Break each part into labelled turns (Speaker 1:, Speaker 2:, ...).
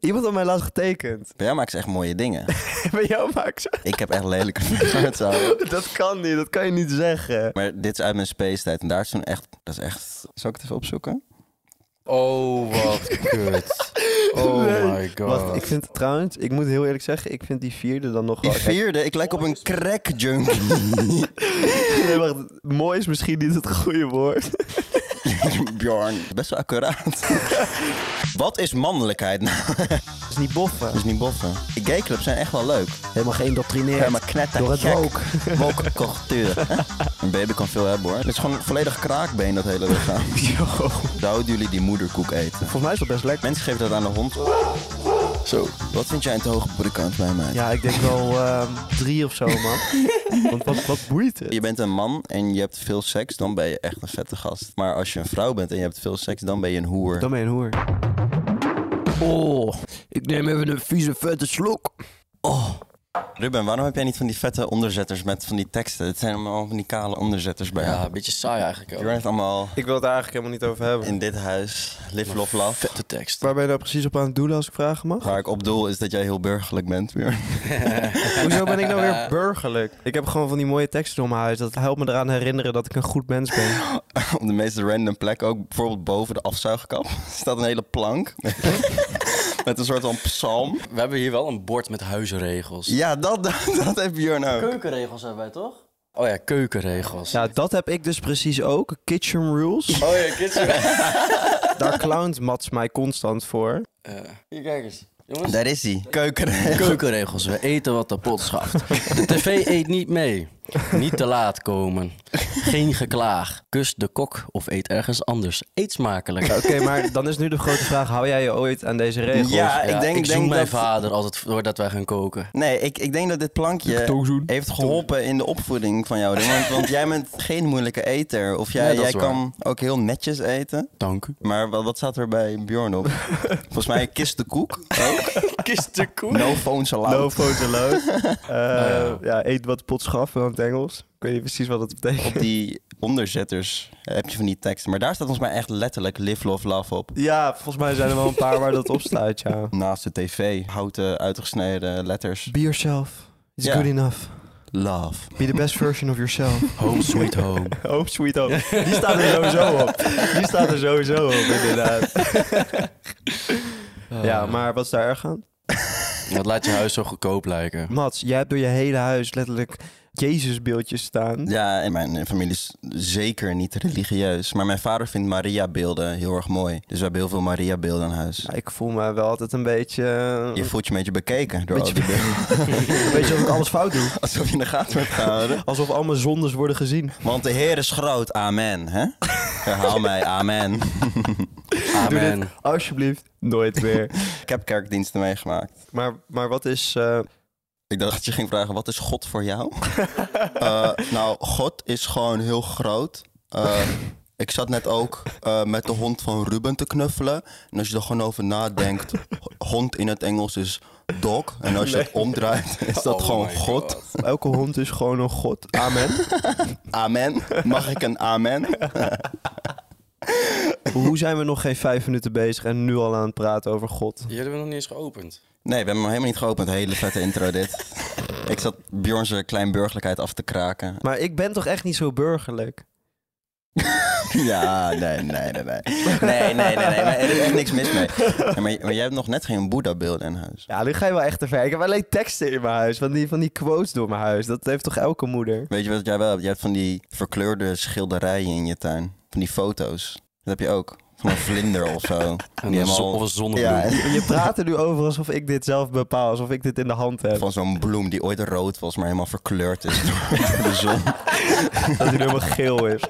Speaker 1: Iemand had mij laatst getekend.
Speaker 2: Bij jou maakt ze echt mooie dingen.
Speaker 1: Bij jou, Max?
Speaker 2: Ik heb echt lelijke vingers. ouwe.
Speaker 1: Dat kan niet, dat kan je niet zeggen.
Speaker 2: Maar dit is uit mijn space tijd. En daar is toen echt... Dat is echt... Zal ik het even opzoeken?
Speaker 3: Oh, wat kut. Oh
Speaker 1: Nee.
Speaker 3: my god.
Speaker 1: Wacht, ik vind trouwens, ik moet heel eerlijk zeggen, ik vind die vierde dan nog
Speaker 2: Die
Speaker 1: wel...
Speaker 2: vierde. Ik lijk op een crack junkie.
Speaker 1: Nee, wacht, mooi is misschien niet het goede woord.
Speaker 2: Bjorn. Best wel accuraat. Wat is mannelijkheid nou?
Speaker 1: Dat is niet boffen.
Speaker 2: Dat is niet boffen. Gayclubs zijn echt wel leuk.
Speaker 1: Helemaal geen doctrineer.
Speaker 2: Helemaal knetter.
Speaker 1: Door het
Speaker 2: gek.
Speaker 1: rook.
Speaker 2: Woke cultuur. Een baby kan veel hebben hoor. Het is gewoon een volledig kraakbeen dat hele lichaam.
Speaker 1: Yo.
Speaker 2: Zouden jullie die moederkoek eten?
Speaker 1: Volgens mij is dat best lekker.
Speaker 2: Mensen geven dat aan de hond. Zo. Wat vind jij een te hoge boerenkant bij mij?
Speaker 1: Ja, ik denk wel ehm, drie of zo, man. Want wat, wat boeit het?
Speaker 2: Je bent een man en je hebt veel seks, dan ben je echt een vette gast. Maar als je een vrouw bent en je hebt veel seks, dan ben je een hoer.
Speaker 1: Dan ben je een hoer.
Speaker 3: Oh, ik neem even een vieze vette slok.
Speaker 2: Oh. Ruben, waarom heb jij niet van die vette onderzetters met van die teksten? Het zijn allemaal van die kale onderzetters bij jou.
Speaker 3: Ja, een beetje saai eigenlijk
Speaker 2: Je
Speaker 3: ook.
Speaker 2: bent allemaal
Speaker 1: Ik wil het eigenlijk helemaal niet over hebben.
Speaker 2: in dit huis, live, love, love.
Speaker 3: Vette tekst.
Speaker 1: Waar ben je nou precies op aan het doelen als ik vragen mag?
Speaker 2: Waar ik op doel is dat jij heel burgerlijk bent, weer.
Speaker 1: Hoezo ben ik nou weer burgerlijk? Ik heb gewoon van die mooie teksten om mijn huis. Dat helpt me eraan herinneren dat ik een goed mens ben.
Speaker 2: Op de meest random plek ook, bijvoorbeeld boven de afzuigkap, staat een hele plank. met een soort van psalm.
Speaker 3: We hebben hier wel een bord met huizenregels.
Speaker 2: Ja, dat, dat, dat heeft Björn ook.
Speaker 3: Keukenregels hebben wij toch? Oh ja, keukenregels.
Speaker 1: Ja, dat heb ik dus precies ook. Kitchen rules.
Speaker 3: Oh ja, kids.
Speaker 1: Daar clownt Mats mij constant voor.
Speaker 3: hier, kijk eens. Jongens.
Speaker 2: Daar is hij. Keuken.
Speaker 3: Keukenregels, we eten wat de pot schaft. De tv eet niet mee. Niet te laat komen. Geen geklaag. Kus de kok of eet ergens anders. Eet smakelijk.
Speaker 1: Oké, maar dan is nu de grote vraag. Hou jij je ooit aan deze regels?
Speaker 2: Ja, ik denk,
Speaker 3: ik
Speaker 2: ik
Speaker 3: zoen
Speaker 2: denk
Speaker 3: mijn
Speaker 2: dat...
Speaker 3: vader altijd voordat wij gaan koken.
Speaker 2: Nee, ik, ik denk dat dit plankje heeft geholpen in de opvoeding van jou. Rin, Want, want jij bent geen moeilijke eter. Of jij,
Speaker 3: Nee, dat
Speaker 2: jij
Speaker 3: is waar.
Speaker 2: kan ook heel netjes eten.
Speaker 3: Dank u.
Speaker 2: Maar wat, wat staat er bij Bjorn op? Volgens mij kist de koek. Ook.
Speaker 3: Kist de koek.
Speaker 2: No phones allowed.
Speaker 1: No photo Eh, Nou Ja, eet wat potschaf in het Engels. Ik weet niet precies wat dat betekent.
Speaker 2: Op die onderzetters eh, heb je van die teksten. Maar daar staat volgens mij echt letterlijk live, love, love op.
Speaker 1: Ja, volgens mij zijn er wel een paar waar dat op staat, ja.
Speaker 2: Naast de tv, houten uitgesneden letters.
Speaker 1: Be yourself. It's
Speaker 2: Ja.
Speaker 1: good enough.
Speaker 2: Love.
Speaker 1: Be the best version of yourself.
Speaker 3: Home sweet home.
Speaker 1: Hope Oh, sweet home. Die staat er sowieso op. Die staat er sowieso op, inderdaad.
Speaker 2: Ah.
Speaker 1: Ja, maar wat is daar erg aan?
Speaker 3: Dat laat je huis zo goedkoop lijken.
Speaker 1: Mats, jij hebt door je hele huis letterlijk Jezusbeeldjes staan.
Speaker 2: Ja, en mijn familie is zeker niet religieus. Maar mijn vader vindt Maria-beelden heel erg mooi. Dus we hebben heel veel Maria-beelden in huis.
Speaker 1: Ja, ik voel me wel altijd een beetje...
Speaker 2: Je voelt je een beetje bekeken door
Speaker 1: Beetje
Speaker 2: al die beelden.
Speaker 1: Weet je of ik alles fout doe?
Speaker 2: Alsof je in de gaten wordt gehouden.
Speaker 1: Alsof al mijn zondes worden gezien.
Speaker 2: Want de Heer is groot, amen. Hè? Herhaal mij, amen.
Speaker 1: Doe
Speaker 3: Amen.
Speaker 1: dit alsjeblieft nooit meer.
Speaker 2: Ik heb kerkdiensten meegemaakt.
Speaker 1: maar, maar wat is... eh,
Speaker 2: Ik dacht dat je ging vragen, wat is God voor jou? Eh, nou, God is gewoon heel groot. Eh, ik zat net ook eh, met de hond van Ruben te knuffelen. En als je er gewoon over nadenkt, hond in het Engels is dog. En als je het omdraait, is dat
Speaker 3: Oh
Speaker 2: gewoon
Speaker 3: my
Speaker 2: God.
Speaker 1: elke hond is gewoon een god. Amen.
Speaker 2: Amen. Mag ik een amen?
Speaker 1: Hoe zijn we nog geen vijf minuten bezig en nu al aan het praten over God?
Speaker 3: Jullie hebben nog niet eens geopend.
Speaker 2: Nee, we hebben hem helemaal niet geopend. Hele vette intro dit. Ik zat Bjorn zijn kleinburgerlijkheid af te kraken.
Speaker 1: Maar ik ben toch echt niet zo burgerlijk?
Speaker 2: Ja, nee, nee, nee, nee. Nee, nee, nee, nee. maar Er is echt niks mis mee. Ja, maar, maar jij hebt nog net geen Boeddha-beelden in huis.
Speaker 1: Ja, nu ga je wel echt te ver. Ik heb alleen teksten in mijn huis. Van die, van die quotes door mijn huis. Dat heeft toch elke moeder?
Speaker 2: Weet je wat jij wel hebt? Je hebt van die verkleurde schilderijen in je tuin. Van die foto's. Dat heb je ook. Van een vlinder of zo.
Speaker 3: En
Speaker 2: Die
Speaker 3: een zo-
Speaker 2: helemaal-
Speaker 3: of een zonnebloem.
Speaker 2: Ja, en
Speaker 1: Je praat er nu over alsof ik dit zelf bepaal. Alsof ik dit in de hand heb.
Speaker 2: van zo'n bloem die ooit rood was, maar helemaal verkleurd is door de zon.
Speaker 1: Dat hij helemaal geel is.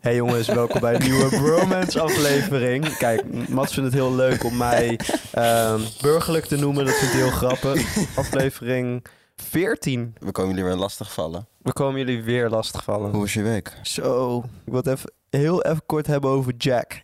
Speaker 1: Hey jongens, welkom bij een nieuwe Bromance aflevering. Kijk, Mats vindt het heel leuk om mij ehm, burgerlijk te noemen. Dat vindt hij heel grappig. Aflevering 14.
Speaker 2: We komen jullie weer lastig vallen.
Speaker 1: We komen jullie weer lastigvallen.
Speaker 2: Hoe was je week?
Speaker 1: Zo, ik wil het even heel even kort hebben over Jack.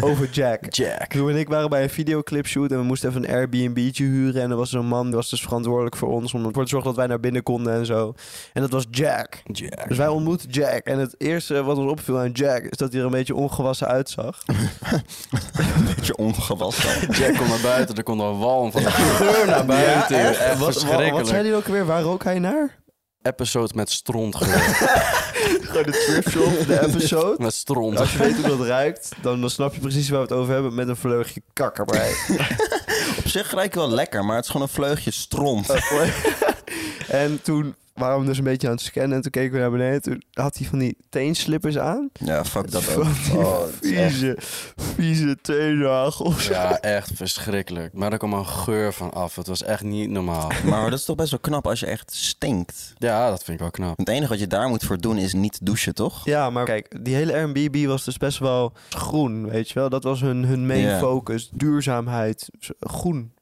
Speaker 1: over Jack.
Speaker 3: Jack.
Speaker 1: Crew en ik waren bij een videoclipshoot en we moesten even een Airbnb'tje huren. En er was zo'n man, die was dus verantwoordelijk voor ons om ervoor te zorgen dat wij naar binnen konden en zo. En dat was Jack.
Speaker 3: Jack.
Speaker 1: Dus wij ontmoeten Jack. En het eerste wat ons opviel aan Jack is dat hij er een beetje ongewassen uitzag.
Speaker 2: Een beetje ongewassen.
Speaker 3: Jack kon naar buiten, er kon een walm van de geur naar buiten.
Speaker 1: Ja,
Speaker 3: echt
Speaker 1: Wat, wat,
Speaker 3: verschrikkelijk.
Speaker 1: wat zei hij ook weer? Waar rook hij naar?
Speaker 3: Episode met strontgeur.
Speaker 1: Gewoon de thrift shop, de episode.
Speaker 3: met stront.
Speaker 1: Als je weet hoe dat ruikt, dan, dan snap je precies waar we het over hebben met een vleugje kakker. Maar
Speaker 2: Op zich ruikt wel lekker, maar het is gewoon een vleugje stront.
Speaker 1: en toen waren we hem dus een beetje aan het scannen en toen keken we naar beneden. Toen had hij van die teenslippers aan.
Speaker 2: Ja, fuck dat ook.
Speaker 1: Van die
Speaker 2: Oh, het is echt-
Speaker 1: vieze, vieze teennagels.
Speaker 3: Ja, echt verschrikkelijk. Maar er kwam een geur van af. Het was echt niet normaal.
Speaker 2: maar dat is toch best wel knap als je echt stinkt.
Speaker 3: Ja, dat vind ik wel knap.
Speaker 2: Het enige wat je daar moet voor doen is niet douchen, toch?
Speaker 1: Ja, maar kijk, die hele Airbnb was dus best wel groen, weet je wel. Dat was hun, hun main
Speaker 2: Ja.
Speaker 1: focus, duurzaamheid, z- groen.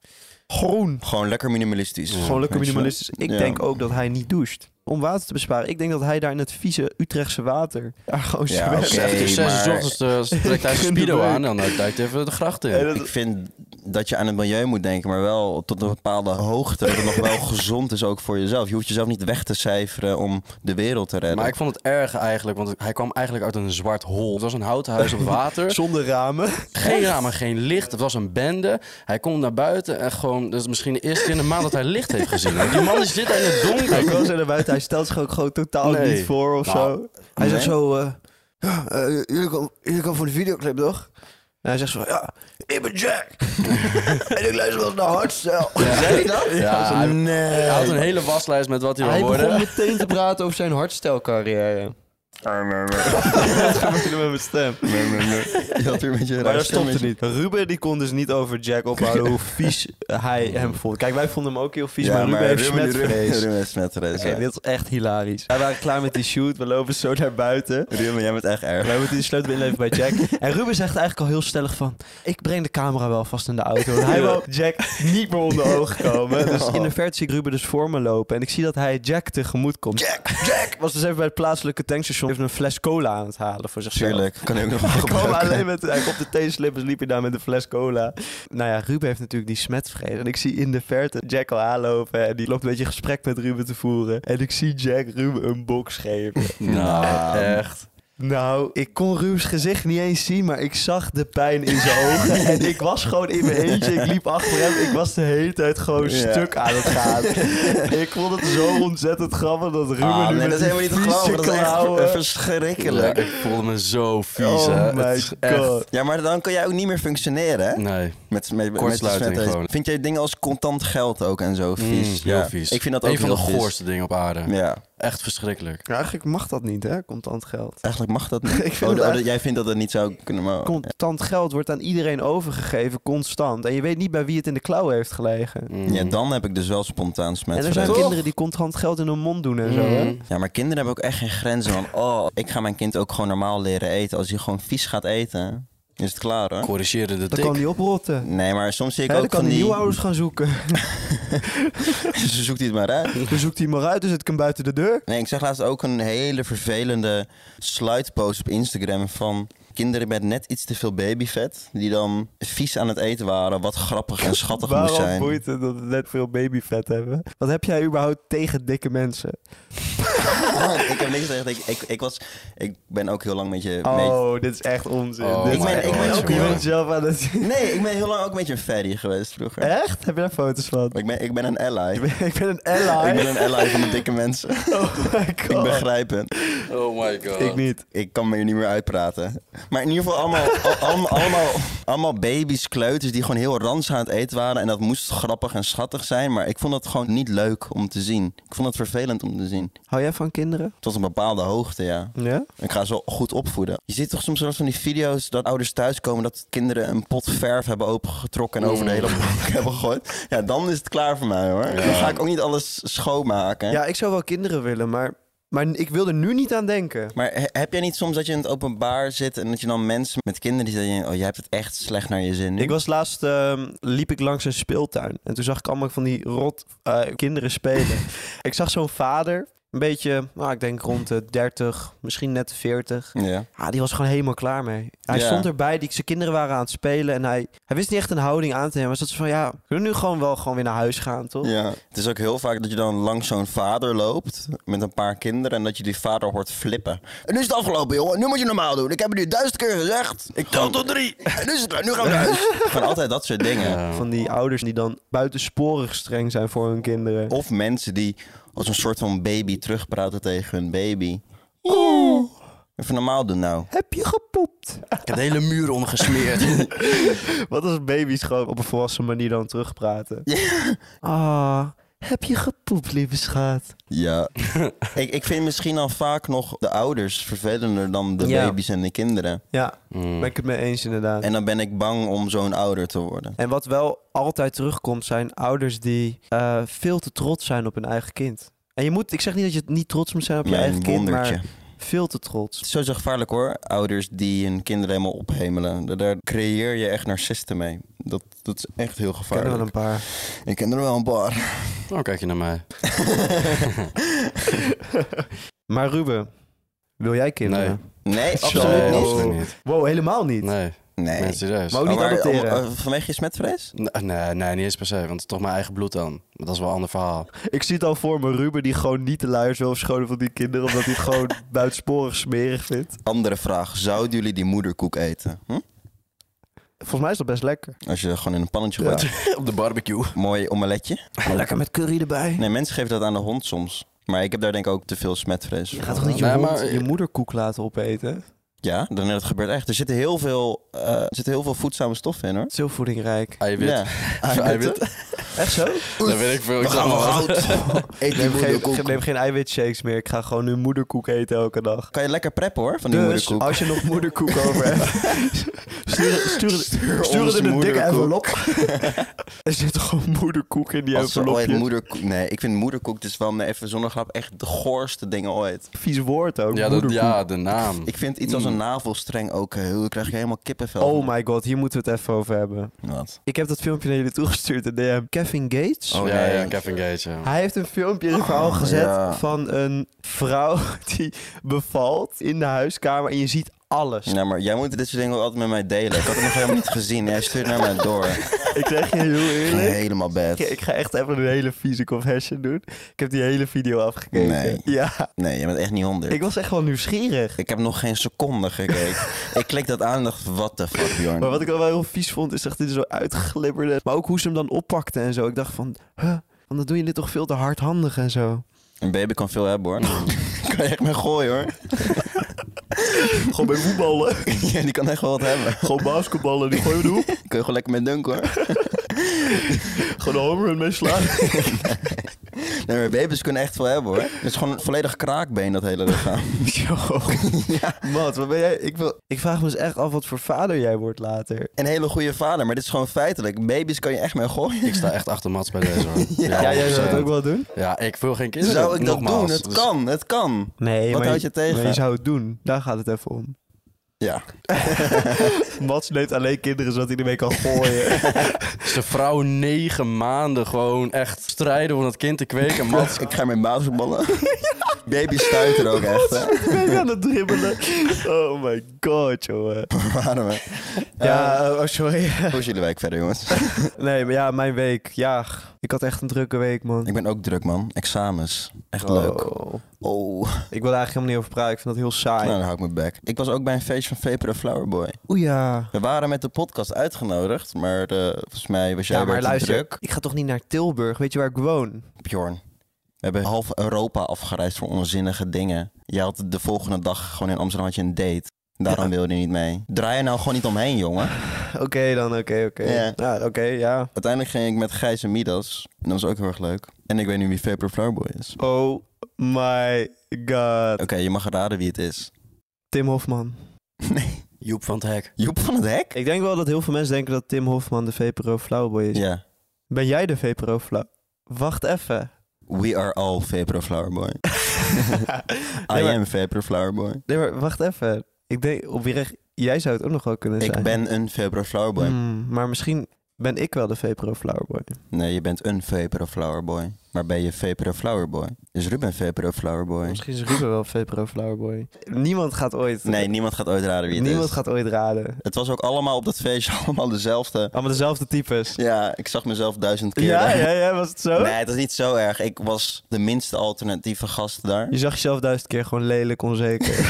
Speaker 1: Groen.
Speaker 2: Gewoon lekker minimalistisch.
Speaker 1: Gewoon lekker
Speaker 2: Weet je wel?
Speaker 1: minimalistisch. Ik
Speaker 2: Ja.
Speaker 1: denk ook dat hij niet doucht. Om water te besparen. Ik denk dat hij daar in het vieze Utrechtse water... Daar gewoon
Speaker 2: Ja,
Speaker 1: zwemt.
Speaker 2: oké.
Speaker 3: Zegt dus zes uur
Speaker 2: maar-
Speaker 3: ochtends eh, trekt hij zijn
Speaker 1: In de
Speaker 3: speedo
Speaker 1: breuk.
Speaker 3: aan en dan duikt hij even de gracht
Speaker 1: En
Speaker 3: in.
Speaker 1: dat-
Speaker 2: Ik vind dat je aan het milieu moet denken, maar wel tot een bepaalde hoogte. Dat het nog wel gezond is ook voor jezelf. Je hoeft jezelf niet weg te cijferen om de wereld te redden.
Speaker 3: Maar ik vond het erg eigenlijk, want hij kwam eigenlijk uit een zwart hol. Het was een houten huis op water.
Speaker 1: Zonder ramen.
Speaker 3: Geen ramen, geen licht. Het was een bende. Hij komt naar buiten en gewoon... Dat is misschien de eerste keer in de maand dat hij licht heeft gezien. Die man die zit in het donker.
Speaker 1: Ik was er naar buiten. Hij stelt zich ook gewoon totaal
Speaker 3: Nee.
Speaker 1: niet voor of
Speaker 3: Nou,
Speaker 1: zo. Hij
Speaker 2: nee.
Speaker 1: zegt zo... eh, ja, eh, jullie, komen, jullie komen voor de videoclip, toch? En hij zegt zo... Ja, ik ben Jack. en ik luister wel eens naar Hardstyle. Zei hij dat?
Speaker 3: Ja, hij-
Speaker 1: nee.
Speaker 3: Hij had een hele waslijst met wat hij
Speaker 1: Hij
Speaker 3: wil worden.
Speaker 1: begon meteen te praten over zijn hardstyle-carrière. Wat gebeurde met mijn stem?
Speaker 2: Je had weer een beetje een
Speaker 1: Maar
Speaker 2: raar
Speaker 1: dat stopte
Speaker 2: stemmetje.
Speaker 1: niet. Ruben die kon dus niet over Jack ophouden hoe vies hij hem vond. Kijk, wij vonden hem ook heel vies,
Speaker 2: Ja,
Speaker 1: maar Ruben heeft
Speaker 2: Ruben- Ruben-
Speaker 1: smetvrees.
Speaker 2: Ruben heeft smetvrees,
Speaker 1: Oké,
Speaker 2: ja.
Speaker 1: dit is echt hilarisch. Wij waren klaar met die shoot, we lopen zo naar buiten.
Speaker 2: Ruben, jij bent echt erg.
Speaker 1: Wij moeten die sleutel inleveren bij Jack. En Ruben zegt eigenlijk al heel stellig van... Ik breng de camera wel vast in de auto. Want hij wil Jack niet meer onder ogen komen. Dus in de verte zie ik Ruben dus voor me lopen. En ik zie dat hij Jack tegemoet komt. Jack! Jack! Was dus even bij het plaatselijke tankstation even een fles cola aan het halen voor zichzelf.
Speaker 2: Tuurlijk, kan ik ook nog wel
Speaker 1: Hij kwam
Speaker 2: gebruiken.
Speaker 1: alleen met, hij op de teenslippers liep hij daar met een fles cola. Nou ja, Ruben heeft natuurlijk die smetvrees. En ik zie in de verte Jack al aanlopen. En die loopt een beetje gesprek met Ruben te voeren. En ik zie Jack Ruben een box geven.
Speaker 3: Nou, echt.
Speaker 1: Nou, ik kon Ruben's gezicht niet eens zien, maar ik zag de pijn in zijn ogen. En ik was gewoon in mijn eentje. Ik liep achter hem. Ik was de hele tijd gewoon
Speaker 2: Ja.
Speaker 1: stuk aan het gaan. ik vond het zo ontzettend grappig dat Ruben
Speaker 2: Ah,
Speaker 1: nu
Speaker 2: nee,
Speaker 1: met
Speaker 2: dat is
Speaker 1: die
Speaker 2: helemaal niet
Speaker 1: vieze
Speaker 2: te geloven. Dat is echt
Speaker 1: klauwen-
Speaker 2: verschrikkelijk.
Speaker 3: Ja, ik voelde me zo vies, hè.
Speaker 1: Oh
Speaker 3: Het
Speaker 1: my
Speaker 3: is echt-
Speaker 1: god.
Speaker 2: Ja, maar dan kan jij ook niet meer functioneren, hè?
Speaker 3: Nee.
Speaker 2: Met, met, met
Speaker 3: Kortsluiting
Speaker 2: smetvrees.
Speaker 3: gewoon.
Speaker 2: Vind jij dingen als contant geld ook en zo vies?
Speaker 3: Mm, heel
Speaker 2: ja.
Speaker 3: vies.
Speaker 2: Ik vind dat ook
Speaker 3: Een van
Speaker 2: heel
Speaker 3: de
Speaker 2: vies.
Speaker 3: goorste dingen op aarde.
Speaker 2: Ja,
Speaker 3: Echt verschrikkelijk.
Speaker 1: Ja, eigenlijk mag dat niet, hè? Contant geld.
Speaker 2: eigenlijk mag dat niet.
Speaker 1: Ik vind
Speaker 2: Oh,
Speaker 1: het
Speaker 2: oh,
Speaker 1: echt-
Speaker 2: Jij vindt dat het niet zou kunnen, maar...
Speaker 1: Contant geld wordt aan iedereen overgegeven, constant. En je weet niet bij wie het in de klauwen heeft gelegen.
Speaker 3: Mm.
Speaker 2: Ja, dan heb ik dus wel spontaan
Speaker 1: en er
Speaker 2: smetvrees.
Speaker 1: zijn kinderen die contant geld in hun mond doen en zo, hè?
Speaker 3: Mm.
Speaker 2: Ja, maar kinderen hebben ook echt geen grenzen. Want oh, ik ga mijn kind ook gewoon normaal leren eten. Als hij gewoon vies gaat eten, is het klaar hoor.
Speaker 3: Corrigeerde de
Speaker 1: Dan kan
Speaker 3: tik.
Speaker 1: die oprotten.
Speaker 2: Nee, maar soms zie ik
Speaker 1: Hè, dan
Speaker 2: ook
Speaker 1: kan
Speaker 2: van
Speaker 1: die
Speaker 2: die...
Speaker 1: nieuwe ouders gaan zoeken.
Speaker 2: Ze zoekt hij het maar uit.
Speaker 1: Dan zoekt hij maar uit, dus het kan buiten de deur.
Speaker 2: Nee, ik zag laatst ook een hele vervelende sluitpost op Instagram van kinderen met net iets te veel babyvet. Die dan vies aan het eten waren, wat grappig en schattig moest
Speaker 1: Waarom
Speaker 2: zijn.
Speaker 1: boeit het dat we net veel babyvet hebben? Wat heb jij überhaupt tegen dikke mensen?
Speaker 2: ik heb niks tegen. Ik, ik, ik, was, ik ben ook heel lang met je. met-
Speaker 1: Oh, dit is echt onzin.
Speaker 3: Oh
Speaker 1: Dit-
Speaker 2: Ik ben- ik ben ook-
Speaker 1: je
Speaker 2: jongen.
Speaker 1: bent zelf aan het...
Speaker 2: Nee, ik ben heel lang ook met je een fatty geweest vroeger.
Speaker 1: Echt? Heb je daar foto's van?
Speaker 2: Ik ben, ik ben een ally.
Speaker 1: Ik ben, ik ben een ally.
Speaker 2: Ik ben een ally van de dikke mensen.
Speaker 1: Oh my god.
Speaker 2: Ik begrijp het.
Speaker 3: Oh my god.
Speaker 1: Ik niet.
Speaker 2: Ik kan me hier niet meer uitpraten. Maar in ieder geval allemaal, al- allemaal, allemaal, allemaal baby's, kleuters die gewoon heel ranzig aan het eten waren. En dat moest grappig en schattig zijn. Maar ik vond dat gewoon niet leuk om te zien. Ik vond het vervelend om te zien.
Speaker 1: Hou jij van kinderen?
Speaker 2: Tot een bepaalde hoogte, ja.
Speaker 1: Ja?
Speaker 2: Ik ga ze wel goed opvoeden. Je ziet toch soms wel eens van die video's dat ouders thuiskomen... dat kinderen een pot verf hebben opengetrokken... en over de hele bank hebben gegooid. Ja, dan is het klaar voor mij, hoor. Dan ga ik ook niet alles schoonmaken.
Speaker 1: Ja, ik zou wel kinderen willen, maar, maar ik wil er nu niet aan denken.
Speaker 2: Maar he- heb jij niet soms dat je in het openbaar zit en dat je dan mensen met kinderen die zeggen: Oh, jij hebt het echt slecht naar je zin. nu?"
Speaker 1: Ik was laatst, ehm, liep ik langs een speeltuin en toen zag ik allemaal van die rot eh, kinderen spelen. ik zag zo'n vader Een beetje, nou, ik denk rond de 30, misschien net de 40.
Speaker 2: Ja.
Speaker 1: Ja, die was gewoon helemaal klaar mee. Hij
Speaker 2: Ja.
Speaker 1: stond erbij, die, zijn kinderen waren aan het spelen en hij, hij wist niet echt een houding aan te nemen. Hij zat zo van, ja, we kunnen nu gewoon wel gewoon weer naar huis gaan, toch?
Speaker 2: Ja. Het is ook heel vaak dat je dan langs zo'n vader loopt met een paar kinderen en dat je die vader hoort flippen. En nu is het afgelopen, jongen. Nu moet je normaal doen. Ik heb het nu duizend keer gezegd. Ik tel tot drie. En nu, is het, nu gaan we naar huis. Van altijd dat soort dingen.
Speaker 1: Van die ouders die dan buitensporig streng zijn voor hun kinderen.
Speaker 2: Of mensen die als een soort van baby terugpraten tegen hun baby. Even normaal doen nou.
Speaker 1: Heb je gepoept?
Speaker 3: Ik heb de hele muur omgesmeerd.
Speaker 1: Wat als baby's gewoon op een volwassen manier dan terugpraten? Ah, heb je gepoept, lieve schat?
Speaker 2: Ja. ik, ik vind misschien al vaak nog de ouders vervelender dan de
Speaker 1: Ja.
Speaker 2: baby's en de kinderen.
Speaker 1: Ja, ben ik het mee eens inderdaad.
Speaker 2: En dan ben ik bang om zo'n ouder te worden.
Speaker 1: En wat wel altijd terugkomt, zijn ouders die eh, veel te trots zijn op hun eigen kind. En je moet, ik zeg niet dat je niet trots moet zijn op je
Speaker 2: Mijn
Speaker 1: eigen
Speaker 2: wondertje.
Speaker 1: kind, maar veel te trots.
Speaker 2: Het is sowieso gevaarlijk hoor. Ouders die hun kinderen helemaal ophemelen. Da- Daar creëer je echt narcisten mee. Dat, dat is echt heel
Speaker 1: Ik ken er
Speaker 2: gevaarlijk.
Speaker 1: wel een paar.
Speaker 2: Ik ken er wel een paar.
Speaker 3: Nou, kijk je naar mij.
Speaker 1: Maar Ruben, wil jij kinderen?
Speaker 2: Nee,
Speaker 1: Zo.
Speaker 2: absoluut niet.
Speaker 3: absoluut niet.
Speaker 1: Wow, helemaal niet.
Speaker 3: Nee,
Speaker 2: Nee.
Speaker 3: nee, serieus.
Speaker 1: Oh, Maar ook niet
Speaker 2: Maar waar-
Speaker 1: adopteren.
Speaker 2: om- eh, vanwege je smetvrees?
Speaker 3: N- Nee, nee, niet eens per se, want het is toch mijn eigen bloed dan. Maar dat is wel een ander verhaal.
Speaker 1: Ik zie het al voor me, Ruben die gewoon niet de luiers wil verschonen van die kinderen, omdat hij het gewoon buitensporig smerig vindt.
Speaker 2: Andere vraag. Zouden jullie die moederkoek eten? Hm?
Speaker 1: Volgens mij is dat best lekker.
Speaker 2: Als je gewoon in een pannetje gooit.
Speaker 3: Op de barbecue.
Speaker 2: Mooi omeletje.
Speaker 1: Lekker met curry erbij.
Speaker 2: Nee, mensen geven dat aan de hond soms. Maar ik heb daar denk ik ook te veel smetvrees voor.
Speaker 1: Je gaat toch niet je,
Speaker 3: Nee,
Speaker 1: hond
Speaker 3: maar-
Speaker 1: je moederkoek laten opeten? Het
Speaker 2: Ja, dan, dat gebeurt echt. Er zitten heel veel, eh, er zitten heel veel voedzame stoffen in hoor.
Speaker 1: is heel voedingrijk.
Speaker 3: Eiwit.
Speaker 2: Ja.
Speaker 3: Eiwit.
Speaker 1: Echt zo?
Speaker 3: Daar weet ik veel. Ik zeg maar wat.
Speaker 2: Eet die
Speaker 1: Neem geen,
Speaker 2: moederkoek.
Speaker 1: neem geen eiwitshakes meer. Ik ga gewoon nu moederkoek eten elke dag.
Speaker 2: Kan je lekker preppen hoor, van die
Speaker 1: Dus
Speaker 2: moederkoek.
Speaker 1: als je nog moederkoek over hebt, stuur, stuur, stuur,
Speaker 2: ons
Speaker 1: het in een dikke
Speaker 2: moederkoek.
Speaker 1: envelop. er zit gewoon moederkoek in die eh,
Speaker 2: Als er ooit
Speaker 1: envelopje.
Speaker 2: moederkoek... Nee, ik vind moederkoek dus wel, nee, even zonder grap, echt de goorste dingen ooit.
Speaker 1: Vies woord ook,
Speaker 3: Ja, dat,
Speaker 1: moederkoek.
Speaker 3: ja, de naam.
Speaker 2: Ik vind iets als een navelstreng ook heel... Dan krijg je helemaal kippenvel.
Speaker 1: Mm. Oh my god, hier moeten we het even over hebben.
Speaker 2: van. Wat?
Speaker 1: Ik heb dat filmpje naar jullie toegestuurd in DM. Kevin Gates.
Speaker 2: Oh,
Speaker 3: ja,
Speaker 2: nee.
Speaker 3: ja, Kevin Gage. ja.
Speaker 1: Hij heeft een filmpje in het verhaal gezet
Speaker 2: ja.
Speaker 1: van een vrouw die bevalt in de huiskamer. En je ziet alles.
Speaker 2: Ja, maar jij moet dit soort dingen ook altijd met mij delen. Ik had het nog helemaal niet gezien. Jij stuurt naar mij door.
Speaker 1: Ik zeg je heel eerlijk.
Speaker 2: Helemaal
Speaker 1: Ik,
Speaker 2: bad.
Speaker 1: ik ga echt even een hele vieze confession doen. Ik heb die hele video afgekeken.
Speaker 2: Nee.
Speaker 1: Ja,
Speaker 2: Nee, je bent echt niet honderd.
Speaker 1: ik was echt wel nieuwsgierig.
Speaker 2: Ik heb nog geen seconde gekeken. ik klik dat aan en dacht, what the fuck, Bjorn.
Speaker 1: Maar wat ik wel heel vies vond, is dat dit zo uitglibberde. Maar ook hoe ze hem dan oppakte en zo. Ik dacht van, huh, want dan doe je dit toch veel te hardhandig en zo.
Speaker 2: Een baby kan veel hebben, hoor. kan je echt mee gooien, hoor.
Speaker 1: Gewoon bij voetballen,
Speaker 2: ja, die kan echt wel wat hebben.
Speaker 1: gewoon basketballen, die gooien doen.
Speaker 2: Kun je gewoon lekker mee dunken, hoor.
Speaker 1: Gewoon een home run mee slaan.
Speaker 2: Nee, maar baby's kunnen echt veel hebben, hoor. Het is gewoon een volledig kraakbeen, dat hele lichaam.
Speaker 1: Wat, wat ben jij? Ik, wil, ik vraag me eens echt af wat voor vader jij wordt later.
Speaker 2: Een hele goede vader, maar dit is gewoon feitelijk. Baby's kan je echt mee gooien.
Speaker 3: Ik sta echt achter Mats bij deze hoor. ja,
Speaker 1: Ja, jij zou het
Speaker 3: 100%.
Speaker 1: ook wel doen?
Speaker 3: Ja, ik wil geen kinderen.
Speaker 2: Zou ik dat
Speaker 3: Nogmaals,
Speaker 2: doen? Het
Speaker 3: dus-
Speaker 2: kan, het kan.
Speaker 1: Nee,
Speaker 2: Wat
Speaker 1: maar
Speaker 2: houd je tegen?
Speaker 1: maar je zou het doen. Daar gaat het even om.
Speaker 2: Ja.
Speaker 1: Mats neemt alleen kinderen zodat hij ermee kan gooien.
Speaker 3: Zijn vrouw negen maanden gewoon echt strijden om dat kind te kweken. Mats,
Speaker 2: Ik ga mee basketballen. Baby's stuiten ook echt, hè.
Speaker 1: ben aan het dribbelen. Oh my god, jongen.
Speaker 2: Waarom, hè?
Speaker 1: Ja, oh, sorry.
Speaker 2: Hoe is jullie week verder, jongens?
Speaker 1: Nee, maar ja, mijn week. Ja, ik had echt een drukke week, man.
Speaker 2: Ik ben ook druk, man. Examens. Echt leuk.
Speaker 1: Oh.
Speaker 2: Oh.
Speaker 1: Ik wil daar eigenlijk helemaal niet over praten. Ik vind dat heel saai.
Speaker 2: Nou, dan hou ik me back. Ik was ook bij een feest van Vapor Flowerboy.
Speaker 1: Oeh ja.
Speaker 2: We waren met de podcast uitgenodigd, maar eh, volgens mij was jij
Speaker 1: Ja, maar
Speaker 2: weer te
Speaker 1: luister.
Speaker 2: druk.
Speaker 1: Ik ga toch niet naar Tilburg? Weet je waar ik woon?
Speaker 2: Bjorn, we hebben half Europa afgereisd voor onzinnige dingen. Je had de volgende dag gewoon in Amsterdam had je een date. Daarom
Speaker 1: Ja.
Speaker 2: wilde je niet mee. Draai er nou gewoon niet omheen, jongen.
Speaker 1: Oké dan, oké, oké.
Speaker 2: Ja.
Speaker 1: Nou, oké, ja.
Speaker 2: Uiteindelijk ging ik met Gijs en Midas. En dat was ook heel erg leuk. En ik weet nu wie Vapor Flowerboy is.
Speaker 1: Oh my god.
Speaker 2: Oké, je mag raden wie het is.
Speaker 1: Tim Hofman.
Speaker 2: Nee.
Speaker 3: Joep van het Hek.
Speaker 2: Joep van het Hek?
Speaker 1: Ik denk wel dat heel veel mensen denken dat Tim Hofman de VPRO Flauwboy is.
Speaker 2: Ja.
Speaker 1: Ben jij de VPRO Flauw? Wacht even.
Speaker 2: We are all Vapor Flowerboy. I
Speaker 1: Nee, maar-
Speaker 2: am Vapor Flowerboy.
Speaker 1: Nee, maar wacht even. Ik denk, op oprecht, jij zou het ook nog wel kunnen zijn.
Speaker 2: Ik ben een Vapor Flowerboy.
Speaker 1: Hmm, maar misschien ben ik wel de VPRO Flowerboy.
Speaker 2: Nee, je bent een vapere flowerboy. Maar ben je VPRO Flowerboy? Is Ruben VPRO Flowerboy?
Speaker 1: Misschien is Ruben wel VPRO Flowerboy. Niemand gaat ooit...
Speaker 2: Nee, niemand gaat ooit raden wie het
Speaker 1: niemand
Speaker 2: is.
Speaker 1: gaat ooit raden.
Speaker 2: Het was ook allemaal op dat feestje, allemaal dezelfde.
Speaker 1: Allemaal dezelfde types.
Speaker 2: Ja, ik zag mezelf duizend keer.
Speaker 1: Ja,
Speaker 2: daar.
Speaker 1: ja, ja, was het zo?
Speaker 2: Nee, het was niet zo erg. Ik was de minste alternatieve gast daar.
Speaker 1: Je zag jezelf duizend keer gewoon lelijk, onzeker.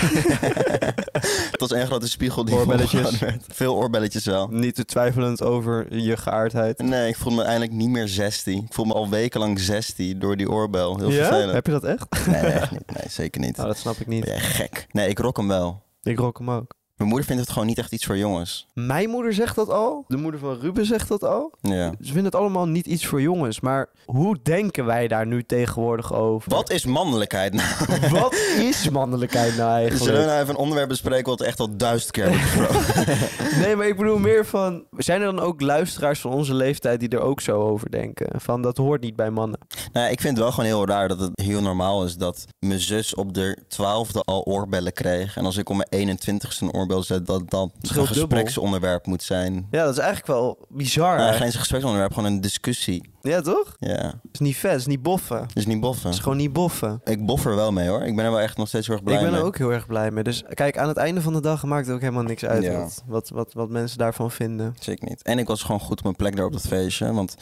Speaker 2: Het was één grote spiegel die
Speaker 1: Oorbelletjes.
Speaker 2: omgehaald werd. Veel oorbelletjes wel.
Speaker 1: Niet te twijfelend over je geaardheid.
Speaker 2: Nee, ik voel me eindelijk niet meer 16. Ik voel me al wekenlang 16 door die oorbel. Heel vervelend.
Speaker 1: Heb je dat echt?
Speaker 2: Nee, echt niet. Nee, zeker niet.
Speaker 1: Nou, dat snap ik
Speaker 2: Ben
Speaker 1: niet.
Speaker 2: jij gek? Nee, ik rok hem wel.
Speaker 1: Ik rook hem ook.
Speaker 2: Mijn moeder vindt het gewoon niet echt iets voor jongens.
Speaker 1: Mijn moeder zegt dat al. De moeder van Ruben zegt dat al.
Speaker 2: Ja.
Speaker 1: Ze vinden het allemaal niet iets voor jongens. Maar hoe denken wij daar nu tegenwoordig over?
Speaker 2: Wat is mannelijkheid nou?
Speaker 1: Wat is mannelijkheid nou
Speaker 2: Zullen we
Speaker 1: eigenlijk?
Speaker 2: nou even een onderwerp bespreken wat we echt al duizend keer hebben gesproken?
Speaker 1: Nee, maar ik bedoel meer van... Zijn er dan ook luisteraars van onze leeftijd die er ook zo over denken? Van, dat hoort niet bij mannen.
Speaker 2: nou, ik vind het wel gewoon heel raar dat het heel normaal is dat mijn zus op de twaalfde al oorbellen kreeg. En als ik om mijn 21ste een oorbel zet, dat dat
Speaker 1: scheelt
Speaker 2: een
Speaker 1: dubbel.
Speaker 2: gespreksonderwerp moet zijn.
Speaker 1: Ja, dat is eigenlijk wel bizar.
Speaker 2: Nou,
Speaker 1: hè?
Speaker 2: geen eens een gespreksonderwerp, gewoon een discussie.
Speaker 1: Ja, toch?
Speaker 2: Ja,
Speaker 1: Het is niet vet, het is niet boffen. Het
Speaker 2: dus niet boffen.
Speaker 1: is gewoon niet boffen.
Speaker 2: Ik boffer wel mee hoor. Ik ben er wel echt nog steeds heel erg blij
Speaker 1: ik ben
Speaker 2: mee.
Speaker 1: er ook heel erg blij mee. Dus kijk, aan het einde van de dag maakt het ook helemaal niks uit
Speaker 2: Ja.
Speaker 1: wat, wat, wat, wat mensen daarvan vinden.
Speaker 2: Zeker niet. En ik was gewoon goed op mijn plek daar op dat feestje. Want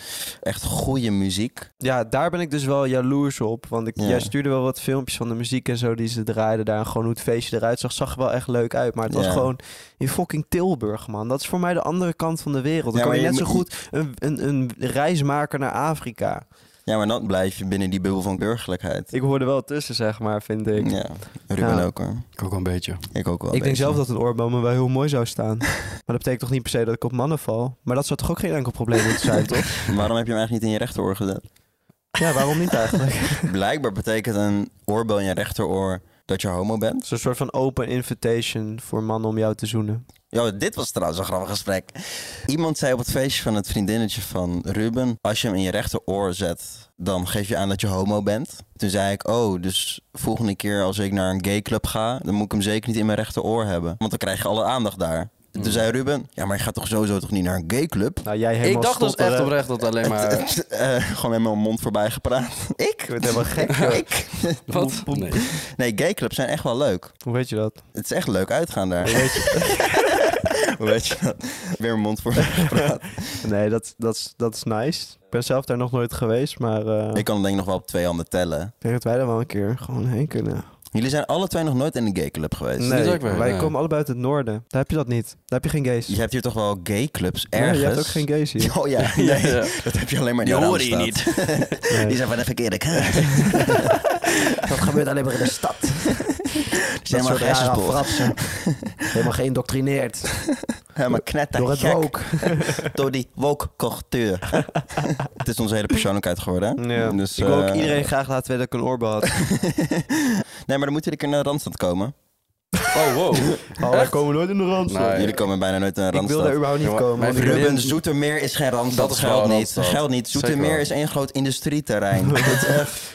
Speaker 2: echt goede muziek.
Speaker 1: Ja, daar ben ik dus wel jaloers op. Want ik,
Speaker 2: Ja.
Speaker 1: jij stuurde wel wat filmpjes van de muziek en zo die ze draaiden daar. En gewoon hoe het feestje eruit zag, zag er wel echt leuk uit. Maar het was
Speaker 2: Ja.
Speaker 1: gewoon in fucking Tilburg, man. Dat is voor mij de andere kant van de wereld. Dan
Speaker 2: Ja,
Speaker 1: kan je
Speaker 2: maar
Speaker 1: net
Speaker 2: je
Speaker 1: zo goed een, een, een reis maken naar Afrika.
Speaker 2: Ja, maar dan blijf je binnen die bubbel van burgerlijkheid.
Speaker 1: Ik hoorde wel tussen, zeg maar, vind ik.
Speaker 2: Ja, Ruben
Speaker 1: Ja.
Speaker 2: ook hoor.
Speaker 3: Ik ook wel een beetje.
Speaker 2: Ik ook wel.
Speaker 1: Ik denk
Speaker 2: weet je.
Speaker 1: zelf dat een oorbel me wel heel mooi zou staan. maar dat betekent toch niet per se dat ik op mannen val? Maar dat zou toch ook geen enkel probleem moeten zijn, toch?
Speaker 2: Waarom heb je hem eigenlijk niet in je rechteroor gezet?
Speaker 1: Ja, waarom niet eigenlijk?
Speaker 2: Blijkbaar betekent een oorbel in je rechteroor dat je homo bent.
Speaker 1: Zo'n soort van open invitation voor mannen om jou te zoenen.
Speaker 2: Yo, dit was trouwens een grappig gesprek. Iemand zei op het feestje van het vriendinnetje van Ruben... als je hem in je rechteroor zet, dan geef je aan dat je homo bent. Toen zei ik, oh, dus volgende keer als ik naar een gayclub ga... dan moet ik hem zeker niet in mijn rechteroor hebben. Want dan krijg je alle aandacht daar. En Toen zei Ruben, ja, maar je gaat toch sowieso toch niet naar een gayclub?
Speaker 1: Nou, jij helemaal
Speaker 3: Ik dacht dus echt
Speaker 1: stotteren.
Speaker 3: oprecht dat alleen maar...
Speaker 2: Eh, gewoon met mijn mond voorbij gepraat. ik?
Speaker 1: Ik word helemaal gek. joh.
Speaker 2: ik?
Speaker 3: Wat? Nee.
Speaker 2: Nee, gayclubs zijn echt wel leuk.
Speaker 1: Hoe weet je dat?
Speaker 2: Het is echt leuk uitgaan daar.
Speaker 1: Hoe weet je
Speaker 2: Hoe Weet je dat? Weer mijn mond voorbij gepraat.
Speaker 1: Nee, dat, dat, is, dat is nice. Ik ben zelf daar nog nooit geweest, maar eh,
Speaker 2: Ik kan hem denk ik nog wel op twee handen tellen.
Speaker 1: ik denk dat wij daar wel een keer gewoon heen kunnen.
Speaker 2: Jullie zijn alle twee nog nooit in een gayclub geweest.
Speaker 3: Nee. ook weer,
Speaker 1: wij
Speaker 3: nee.
Speaker 1: komen allebei uit het noorden. Daar heb je dat niet. Daar heb je geen gays.
Speaker 2: Je hebt hier toch wel gayclubs
Speaker 1: Nee,
Speaker 2: ergens?
Speaker 1: je hebt ook geen gays hier.
Speaker 2: Oh ja, nee,
Speaker 3: Ja.
Speaker 2: dat heb je alleen maar in
Speaker 3: Die
Speaker 2: de
Speaker 3: horen je
Speaker 2: Randstad.
Speaker 1: Nee.
Speaker 2: Die zijn van de verkeerde kant.
Speaker 1: Dat gebeurt alleen maar in de stad.
Speaker 2: Die zijn maar geestesbol.
Speaker 1: Helemaal geïndoctrineerd.
Speaker 2: Helemaal knetter.
Speaker 1: Door het rook.
Speaker 2: Door die woke-cultuur. het is onze hele persoonlijkheid geworden. Hè?
Speaker 1: Ja.
Speaker 2: Dus,
Speaker 1: ik wil ook
Speaker 2: eh,
Speaker 1: iedereen graag laten weten dat ik een oorbel had.
Speaker 2: Nee, maar dan moeten jullie een keer naar de Randstad komen.
Speaker 3: Oh, wow.
Speaker 1: Oh, wij komen nooit in de rand.
Speaker 3: Nee.
Speaker 2: Jullie komen bijna nooit naar de
Speaker 1: ik wil daar
Speaker 2: Randstad.
Speaker 1: überhaupt niet
Speaker 3: Ja, maar
Speaker 1: komen.
Speaker 3: mijn
Speaker 1: want ik-
Speaker 3: vriendin-
Speaker 2: Ruben, Zoetermeer is geen Randstad.
Speaker 3: Dat is
Speaker 2: geldt
Speaker 3: wel
Speaker 2: niet.
Speaker 3: Randstad.
Speaker 2: geldt niet.
Speaker 3: Zeker
Speaker 2: Zoetermeer
Speaker 3: wel.
Speaker 2: is één groot industrieterrein. dat, is echt,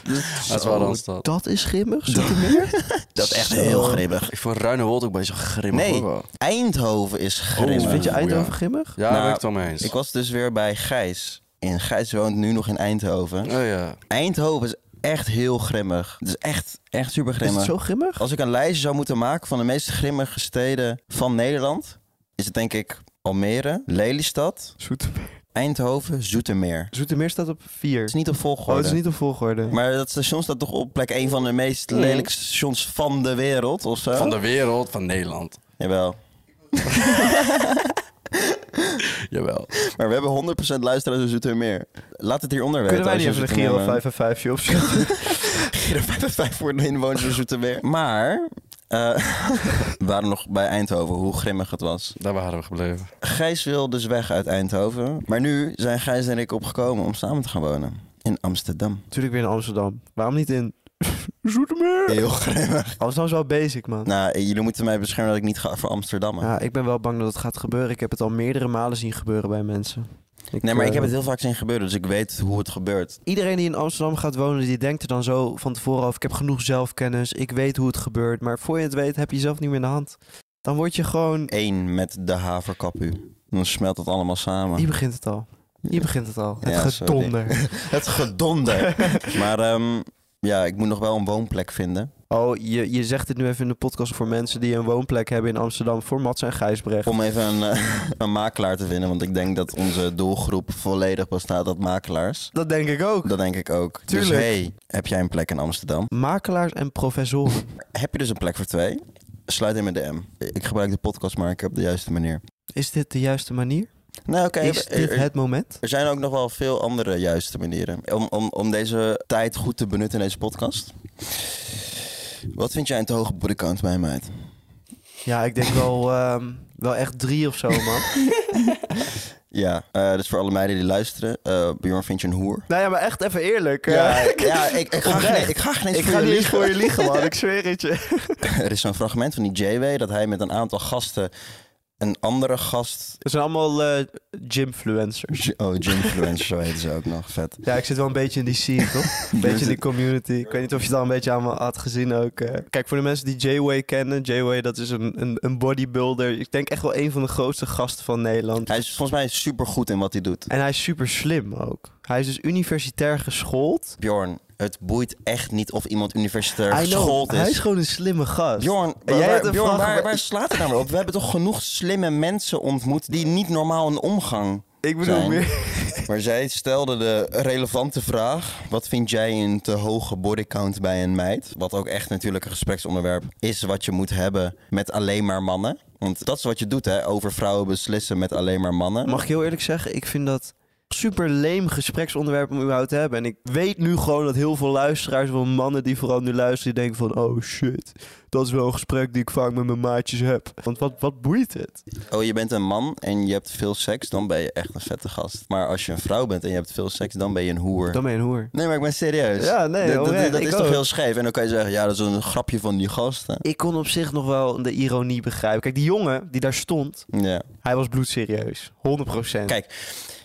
Speaker 2: dat is-
Speaker 3: Dat is wel Randstad.
Speaker 1: Dus Dat is grimmig, Zoetermeer?
Speaker 2: dat is echt
Speaker 1: Zo.
Speaker 2: heel grimmig.
Speaker 3: Ik vond Ruinewold ook best wel grimmig.
Speaker 2: Nee.
Speaker 3: hoor, wel.
Speaker 2: Eindhoven is grimmig.
Speaker 3: Oeh.
Speaker 1: Oh, Vind je
Speaker 3: ja.
Speaker 1: Eindhoven grimmig?
Speaker 3: Ja,
Speaker 2: Nou,
Speaker 3: daar ben ik het wel mee eens.
Speaker 2: Ik was dus weer bij Gijs. En Gijs woont nu nog in Eindhoven.
Speaker 3: Oh ja.
Speaker 2: Eindhoven is echt heel grimmig. Het is echt, echt super
Speaker 1: Is het
Speaker 2: grimmig.
Speaker 1: zo grimmig?
Speaker 2: Als ik een lijstje zou moeten maken van de meest grimmige steden van Nederland... is het denk ik Almere, Lelystad,
Speaker 1: Zoetermeer.
Speaker 2: Eindhoven, Zoetermeer.
Speaker 1: Zoetermeer staat op
Speaker 2: Het is
Speaker 1: 4.
Speaker 2: niet op
Speaker 1: Oh,
Speaker 2: volgorde.
Speaker 1: het is niet op volgorde.
Speaker 2: Maar dat station staat toch op plek 1 van de meest
Speaker 3: Nee.
Speaker 2: lelijke stations van de wereld of zo?
Speaker 3: Van de wereld, van Nederland.
Speaker 2: Jawel.
Speaker 3: Jawel.
Speaker 2: Maar we hebben 100% luisteraars in Zoetermeer. Laat het hieronder weten.
Speaker 1: Kunnen wij niet
Speaker 2: als je
Speaker 1: even de
Speaker 2: Zoetermeer
Speaker 1: Giro
Speaker 2: woont.
Speaker 1: 5 en 5 opzetten?
Speaker 2: Giro 555 voor de inwoners van Zoetermeer. Maar eh, we waren nog bij Eindhoven, hoe grimmig het was.
Speaker 3: Daar waren we gebleven.
Speaker 2: Gijs wil dus weg uit Eindhoven. Maar nu zijn Gijs en ik opgekomen om samen te gaan wonen. In Amsterdam.
Speaker 1: Natuurlijk weer in Amsterdam. Waarom niet in Zoetermeer?
Speaker 2: Heel grimmig.
Speaker 1: Amsterdam is wel basic, man.
Speaker 2: Nou, jullie moeten mij beschermen dat ik niet ga voor Amsterdammen.
Speaker 1: Ja, ik ben wel bang dat het gaat gebeuren. Ik heb het al meerdere malen zien gebeuren bij mensen.
Speaker 2: Nee, maar ik
Speaker 1: eh,
Speaker 2: heb het heel vaak zien gebeuren, dus ik weet hoe het gebeurt.
Speaker 1: Iedereen die in Amsterdam gaat wonen, die denkt er dan zo van tevoren over... ik heb genoeg zelfkennis, ik weet hoe het gebeurt. Maar voor je het weet, heb je jezelf niet meer in de hand. Dan word je gewoon...
Speaker 2: Eén met de haverkapu. Dan smelt het allemaal samen.
Speaker 1: Hier begint het al. Je begint het al.
Speaker 2: Ja,
Speaker 1: het
Speaker 2: zo ding.
Speaker 1: gedonder.
Speaker 2: Het gedonder. maar ehm, ja, ik moet nog wel een woonplek vinden.
Speaker 1: Oh, je, je zegt dit nu even in de podcast voor mensen die een woonplek hebben in Amsterdam voor Mats en Gijsbrecht.
Speaker 2: Om even een, eh, een makelaar te vinden. Want ik denk dat onze doelgroep volledig bestaat uit makelaars.
Speaker 1: Dat denk ik ook.
Speaker 2: Dat denk ik ook. Dus
Speaker 1: Tuurlijk.
Speaker 2: hey, heb jij een plek in Amsterdam?
Speaker 1: Makelaars en professoren.
Speaker 2: Heb je dus een plek voor twee? Sluit in met de M. Ik gebruik de podcast maar op de juiste manier.
Speaker 1: Is dit de juiste manier?
Speaker 2: Nou, oké.
Speaker 1: Is
Speaker 2: er-
Speaker 1: dit
Speaker 2: er-
Speaker 1: het moment?
Speaker 2: Er zijn ook nog wel veel andere juiste manieren om, om, om deze tijd goed te benutten in deze podcast. Wat vind jij een te hoge bodycount bij mij?
Speaker 1: Ja, ik denk wel, ehm, wel echt drie of zo, man.
Speaker 2: Ja, eh dus voor alle meiden die luisteren, eh Bjorn vind je een hoer.
Speaker 1: nou ja, maar echt even eerlijk. eh,
Speaker 2: Ja, ja ik, ik, ga
Speaker 1: Oprecht.
Speaker 2: geen, ik ga geen eens
Speaker 1: ik
Speaker 2: voor
Speaker 1: ga
Speaker 2: je
Speaker 1: niet eens
Speaker 2: liegen.
Speaker 1: voor je liegen, man. Ik zweer het je.
Speaker 2: Er is zo'n fragment van die JW dat hij met een aantal gasten een andere gast...
Speaker 1: Het zijn allemaal eh gymfluencers.
Speaker 2: Oh, Jimfluencer, zo heet ze ook nog. Vet.
Speaker 1: Ja, ik zit wel een beetje in die scene, toch? Een beetje in die community. Ik weet niet of je het al een beetje aan me had gezien ook. eh. Kijk, voor de mensen die J-Way kennen. J-Way, dat is een, een, een bodybuilder. Ik denk echt wel een van de grootste gasten van Nederland.
Speaker 2: Hij is volgens mij supergoed in wat hij doet.
Speaker 1: En hij is super slim ook. Hij is dus universitair geschoold.
Speaker 2: Bjorn, het boeit echt niet of iemand universitair
Speaker 1: I know,
Speaker 2: geschoold
Speaker 1: Hij
Speaker 2: is.
Speaker 1: is gewoon een slimme gast.
Speaker 2: Bjorn, eh,
Speaker 1: En jij
Speaker 2: waar-
Speaker 1: hebt een
Speaker 2: Bjorn,
Speaker 1: vraag
Speaker 2: waar,
Speaker 1: over-
Speaker 2: waar slaat het nou weer op? We hebben toch genoeg slimme mensen ontmoet die niet normaal een omgang.
Speaker 1: Ik bedoel
Speaker 2: Zijn.
Speaker 1: meer...
Speaker 2: Maar zij stelde de relevante vraag: wat vind jij een te hoge bodycount bij een meid? Wat ook echt natuurlijk een gespreksonderwerp is wat je moet hebben met alleen maar mannen. Want dat is wat je doet, hè? Over vrouwen beslissen met alleen maar mannen.
Speaker 1: Mag ik heel eerlijk zeggen, ik vind dat super leem gespreksonderwerp om überhaupt te hebben. En ik weet nu gewoon dat heel veel luisteraars, van mannen die vooral nu luisteren, die denken van... Oh shit, dat is wel een gesprek die ik vaak met mijn maatjes heb. Want wat, wat boeit het?
Speaker 2: Oh, je bent een man en je hebt veel seks, dan ben je echt een vette gast. Maar als je een vrouw bent en je hebt veel seks, dan ben je een hoer.
Speaker 1: Dan ben je een hoer.
Speaker 2: Nee, maar ik ben serieus.
Speaker 1: Ja, nee,
Speaker 2: Dat- dat-
Speaker 1: oprecht,
Speaker 2: dat
Speaker 1: ik
Speaker 2: is toch
Speaker 1: ook.
Speaker 2: heel scheef. En dan kan je zeggen, ja, dat is een grapje van die gasten.
Speaker 1: Ik kon op zich nog wel de ironie begrijpen. Kijk, die jongen die daar stond,
Speaker 2: Ja.
Speaker 1: hij was bloedserieus. 100%.
Speaker 2: Kijk,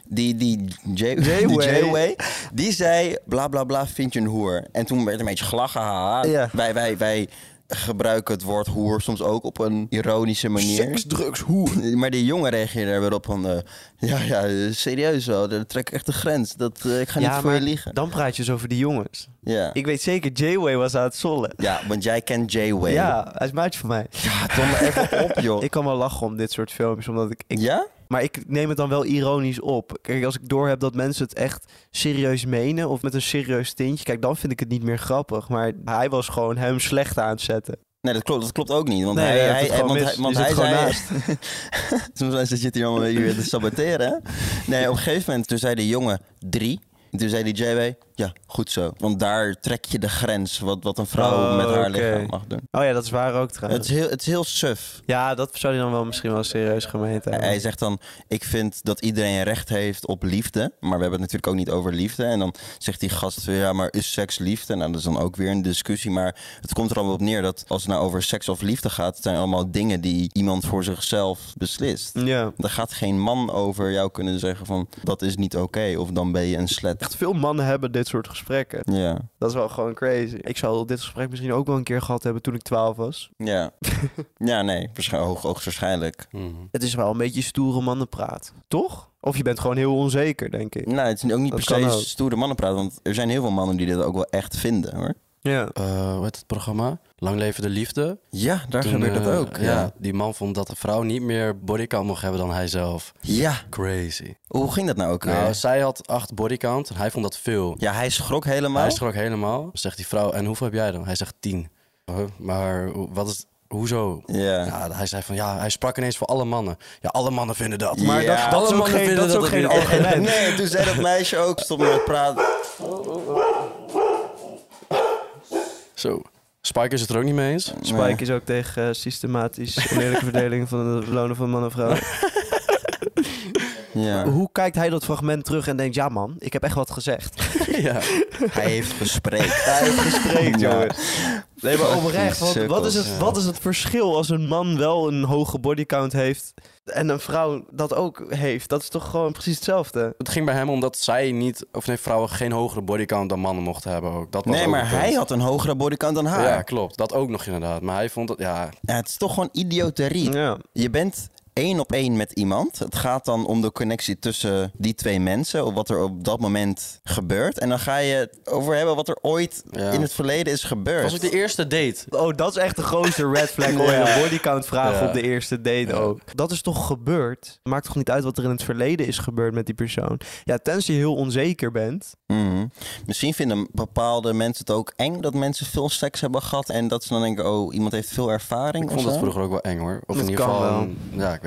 Speaker 2: die, die J- die
Speaker 1: J-Way.
Speaker 2: J-Way, die zei bla bla bla, vind je een hoer. En toen werd een beetje gelachen, haha.
Speaker 1: Ja.
Speaker 2: Wij, wij, wij gebruiken het woord hoer soms ook op een ironische manier.
Speaker 1: Seks, drugs, hoer.
Speaker 2: Maar die jongen reageerde er weer op van, eh, ja, ja, eh, serieus wel, dat trek ik echt de grens. Dat, eh, ik ga niet voor je liegen.
Speaker 1: dan praat je dus over die jongens.
Speaker 2: Ja.
Speaker 1: Ik weet zeker, J-Way was aan het zollen.
Speaker 2: ja, want jij kent J-Way.
Speaker 1: Ja, hij is maatje van mij.
Speaker 2: Ja, Tom, even op, joh.
Speaker 1: Ik kan wel lachen om dit soort filmpjes, omdat ik, ik...
Speaker 2: Ja?
Speaker 1: Maar ik neem het dan wel ironisch op. Kijk, als ik doorheb dat mensen het echt serieus menen... of met een serieus tintje, kijk, dan vind ik het niet meer grappig. Maar hij was gewoon hem slecht aan het zetten.
Speaker 2: Nee, dat klopt, dat klopt ook niet. Want
Speaker 1: Nee,
Speaker 2: hij,
Speaker 1: hij heeft het
Speaker 2: hij,
Speaker 1: gewoon
Speaker 2: want
Speaker 1: mis.
Speaker 2: hij, want
Speaker 1: Je
Speaker 2: hij
Speaker 1: zit
Speaker 2: zei...
Speaker 1: gewoon
Speaker 2: Soms hij zit hier allemaal weer te saboteren. hè? Nee, op een gegeven moment, toen zei de jongen drie. En Toen zei die JW, ja, goed zo. Want daar trek je de grens wat, wat een vrouw
Speaker 1: Oh,
Speaker 2: met haar
Speaker 1: oké.
Speaker 2: lichaam mag doen.
Speaker 1: Oh ja, dat is waar ook
Speaker 2: Het
Speaker 1: trouwens.
Speaker 2: is heel, het is heel suf.
Speaker 1: Ja, dat zou hij dan wel misschien wel serieus gemeend hebben.
Speaker 2: Eh, Hij zegt dan, ik vind dat iedereen recht heeft op liefde. Maar we hebben het natuurlijk ook niet over liefde. En dan zegt die gast, weer, ja, maar is seks liefde? Nou, dat is dan ook weer een discussie. Maar het komt er allemaal op neer dat als het nou over seks of liefde gaat... het zijn allemaal dingen die iemand voor zichzelf beslist.
Speaker 1: Ja.
Speaker 2: Er gaat geen man over jou kunnen zeggen van, dat is niet oké. of dan ben je een slet.
Speaker 1: Echt veel mannen hebben dit soort gesprekken.
Speaker 2: Ja,
Speaker 1: Dat is wel gewoon crazy. Ik zou dit gesprek misschien ook wel een keer gehad hebben toen ik 12 was.
Speaker 2: ja. ja, nee, waarsch- hoog- hoogstwaarschijnlijk.
Speaker 1: Het is wel een beetje stoere mannenpraat, toch? Of je bent gewoon heel onzeker, denk ik.
Speaker 2: Nou, het is ook niet
Speaker 1: Dat
Speaker 2: per
Speaker 1: kan
Speaker 2: se
Speaker 1: ook.
Speaker 2: stoere mannen praten. Want er zijn heel veel mannen die dit ook wel echt vinden, hoor.
Speaker 1: Ja.
Speaker 3: Eh, hoe heet het programma? Lang leven de liefde.
Speaker 2: Ja, daar
Speaker 3: Toen,
Speaker 2: gebeurt dat
Speaker 3: eh,
Speaker 2: ook.
Speaker 3: ja, die man vond dat de vrouw niet meer bodycount mocht hebben dan hij zelf.
Speaker 2: Ja,
Speaker 3: Crazy.
Speaker 2: hoe ging dat nou ook weer?
Speaker 3: Nou, zij had acht bodycount en hij vond dat veel.
Speaker 2: ja, hij schrok helemaal.
Speaker 3: Hij schrok helemaal. Zegt die vrouw, en hoeveel heb jij dan? Hij zegt tien. Huh, maar ho- wat is, hoezo?
Speaker 2: Ja.
Speaker 3: Ja, hij zei van, ja, hij sprak ineens voor alle mannen. Ja, alle mannen vinden dat.
Speaker 2: Maar dat- dat
Speaker 3: alle
Speaker 1: is ook
Speaker 3: mannen
Speaker 1: geen-
Speaker 3: vinden
Speaker 1: dat is ook geen
Speaker 3: het-
Speaker 1: argument.
Speaker 2: Oh, Nee, toen zei dat meisje ook, stop met praten.
Speaker 3: Zo. Spike is het er ook niet mee eens.
Speaker 1: Spike is ook tegen eh, systematisch oneerlijke verdeling van de lonen van man en vrouw.
Speaker 2: Ja.
Speaker 1: Hoe kijkt hij dat fragment terug en denkt, ja man, ik heb echt wat gezegd.
Speaker 3: ja.
Speaker 2: Hij heeft gespreekt.
Speaker 1: Hij heeft gespreekt,
Speaker 2: Ja.
Speaker 1: jongen. Nee, maar oprecht, want
Speaker 2: Fucking
Speaker 1: wat is, het,
Speaker 2: sukkels,
Speaker 1: wat is het verschil als een man wel een hoge bodycount heeft en een vrouw dat ook heeft? Dat is toch gewoon precies hetzelfde?
Speaker 3: Het ging bij hem omdat zij niet, of nee, vrouwen geen hogere bodycount dan mannen mochten hebben ook. Dat was
Speaker 2: Nee,
Speaker 3: ook
Speaker 2: maar
Speaker 3: een punt.
Speaker 2: hij had een hogere bodycount dan haar.
Speaker 3: Ja,
Speaker 2: Ja.
Speaker 3: klopt. Dat ook nog inderdaad. Maar hij vond dat, ja,
Speaker 2: het is toch gewoon idioterie.
Speaker 1: Ja.
Speaker 2: Je bent één op één met iemand. Het gaat dan om de connectie tussen die twee mensen, of wat er op dat moment gebeurt. En dan ga je het over hebben wat er ooit
Speaker 3: Ja.
Speaker 2: in het verleden is gebeurd.
Speaker 3: Was ik de eerste date?
Speaker 1: Oh, dat is echt de grootste red flag hoor.
Speaker 3: Ja.
Speaker 1: Een bodycount vragen
Speaker 3: Ja.
Speaker 1: op de eerste date ook. Dat is toch gebeurd? Maakt toch niet uit wat er in het verleden is gebeurd met die persoon? Ja, tenzij je heel onzeker bent.
Speaker 2: Mhm. Misschien vinden bepaalde mensen het ook eng dat mensen veel seks hebben gehad. En dat ze dan denken, oh, iemand heeft veel ervaring.
Speaker 3: Ik vond
Speaker 2: of
Speaker 3: dat
Speaker 2: zo.
Speaker 3: vroeger ook wel eng hoor. Of
Speaker 1: Dat
Speaker 3: in ieder
Speaker 1: kan
Speaker 3: geval,
Speaker 1: wel.
Speaker 3: een- ja, ik weet niet.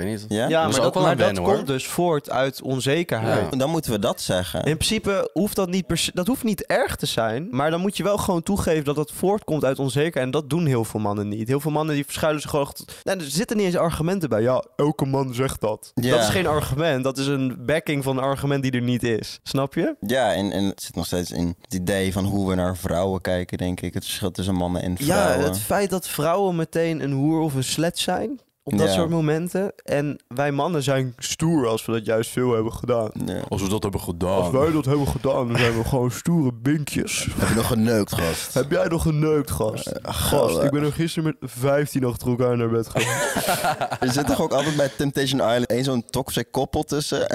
Speaker 1: Ja,
Speaker 2: Ja?
Speaker 3: is
Speaker 1: maar
Speaker 3: ook
Speaker 1: dat,
Speaker 3: wel
Speaker 1: maar
Speaker 3: een
Speaker 1: dat
Speaker 3: wennen, hoor.
Speaker 1: komt dus voort uit onzekerheid.
Speaker 3: Ja.
Speaker 2: Dan moeten we dat zeggen.
Speaker 1: In principe hoeft dat niet per se- dat hoeft niet erg te zijn, maar dan moet je wel gewoon toegeven dat dat voortkomt uit onzekerheid en dat doen heel veel mannen niet. Heel veel mannen die verschuilen zich gewoon achter- nou, er zitten niet eens argumenten bij. Ja, elke man zegt dat.
Speaker 2: Ja.
Speaker 1: Dat is geen argument, dat is een backing van een argument die er niet is. Snap je?
Speaker 2: Ja, en, en het zit nog steeds in het idee van hoe we naar vrouwen kijken, denk ik. Het verschil tussen mannen en
Speaker 1: Ja,
Speaker 2: vrouwen.
Speaker 1: het feit dat vrouwen meteen een hoer of een slet zijn op dat
Speaker 2: Ja.
Speaker 1: soort momenten en wij mannen zijn stoer als we dat juist veel hebben gedaan.
Speaker 2: Ja.
Speaker 3: Als we dat hebben
Speaker 1: Als
Speaker 3: gedaan.
Speaker 1: wij dat hebben gedaan, dan zijn we gewoon stoere binkjes.
Speaker 2: Heb je nog geneukt, gast?
Speaker 1: Heb jij nog geneukt, gast? Eh, gast, ik ben er gisteren met 15 achter elkaar naar bed gegaan.
Speaker 2: Er zit toch ook altijd bij Temptation Island één zo'n toxic koppel tussen...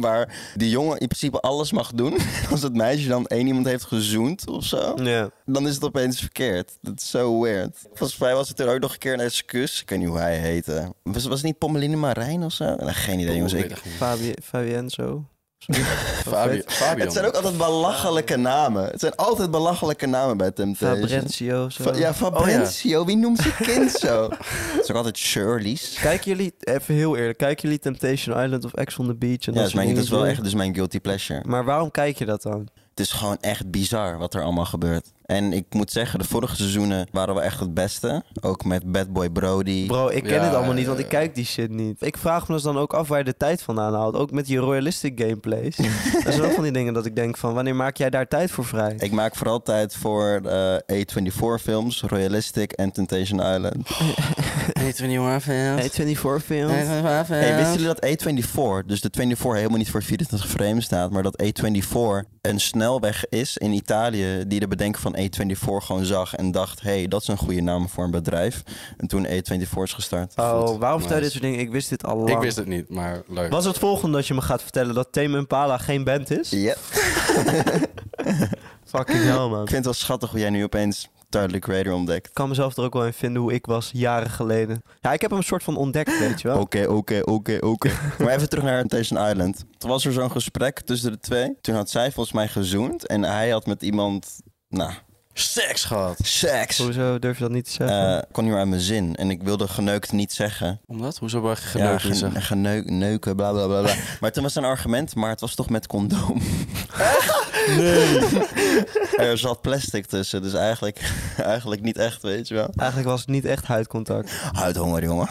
Speaker 2: waar die jongen in principe alles mag doen. Als het meisje dan één iemand heeft gezoend of zo...
Speaker 1: ja.
Speaker 2: dan is het opeens verkeerd. Dat is zo weird. Volgens mij was het er ook nog een keer een excuus. Ik weet niet hoe hij heette. Was, was het niet Pommeline Marijn of zo? Nou, geen idee, jongens. Ik-
Speaker 1: Fabi Fabienzo.
Speaker 3: Fabi Fabian.
Speaker 2: Het zijn ook altijd belachelijke namen. Het zijn altijd belachelijke namen bij Temptation.
Speaker 1: Fabrencio. Zo.
Speaker 2: Fa- Oh, ja, Fabrizio. Wie noemt zijn kind zo? Het is ook altijd Shirley's.
Speaker 1: Kijken jullie, even heel eerlijk, kijken jullie Temptation Island of Ex on the Beach? En
Speaker 2: Ja, dat is,
Speaker 1: soort
Speaker 2: mijn, dat is wel
Speaker 1: dingen?
Speaker 2: echt dus mijn guilty pleasure.
Speaker 1: Maar waarom kijk je dat dan?
Speaker 2: Het is gewoon echt bizar wat er allemaal gebeurt. En ik moet zeggen, de vorige seizoenen waren wel echt het beste. Ook met Bad Boy Brody.
Speaker 1: Bro, ik ken
Speaker 3: Ja,
Speaker 1: het allemaal niet, want
Speaker 3: ja,
Speaker 1: ik kijk die shit niet. Ik vraag me dus dan ook af waar je de tijd vandaan haalt. Ook met je royalistic gameplays. dat zijn ook van die dingen dat ik denk van, wanneer maak jij daar tijd voor vrij?
Speaker 2: Ik maak vooral tijd voor eh A24 films, Royalistic en Temptation Island.
Speaker 3: Eten we niet hoor, Fans.
Speaker 1: 24 films.
Speaker 2: Hey, wisten jullie dat A24, dus de 24 helemaal niet voor 24 frames staat, maar dat A24 een snelweg is in Italië die de bedenker van A24 gewoon zag en dacht, hey, dat is een goede naam voor een bedrijf. En toen A24 is gestart.
Speaker 1: Oh, waarom vertel je
Speaker 3: Nice.
Speaker 1: dit soort dingen? Ik wist dit al lang.
Speaker 3: Ik wist het niet, maar leuk.
Speaker 1: Was het volgende dat je me gaat vertellen dat Tame Impala geen band is?
Speaker 2: Ja.
Speaker 1: Fucking hell, man.
Speaker 2: Ik vind het wel schattig hoe jij nu opeens Tyler the Creator ontdekt.
Speaker 1: Ik kan mezelf er ook wel in vinden hoe ik was jaren geleden. Ja, ik heb hem een soort van ontdekt, weet je wel.
Speaker 2: Oké, oké, oké, oké. Oh. Maar even terug naar Temptation Island. Toen was er zo'n gesprek tussen de twee. Toen had zij volgens mij gezoend en hij had met iemand, nou,
Speaker 3: seks gehad?
Speaker 2: seks.
Speaker 1: Hoezo durf je dat niet te zeggen?
Speaker 2: Eh, kon niet meer uit mijn zin en ik wilde geneukt niet zeggen.
Speaker 3: Omdat? Hoezo ben je geneukt?
Speaker 2: ja, gen- geneuk, neuken, bla bla bla. bla. maar toen was er een argument, maar het was toch met condoom. nee. er zat plastic tussen, dus eigenlijk, eigenlijk niet echt, weet je wel.
Speaker 1: Eigenlijk was het niet echt huidcontact.
Speaker 2: Huidhonger, jongen.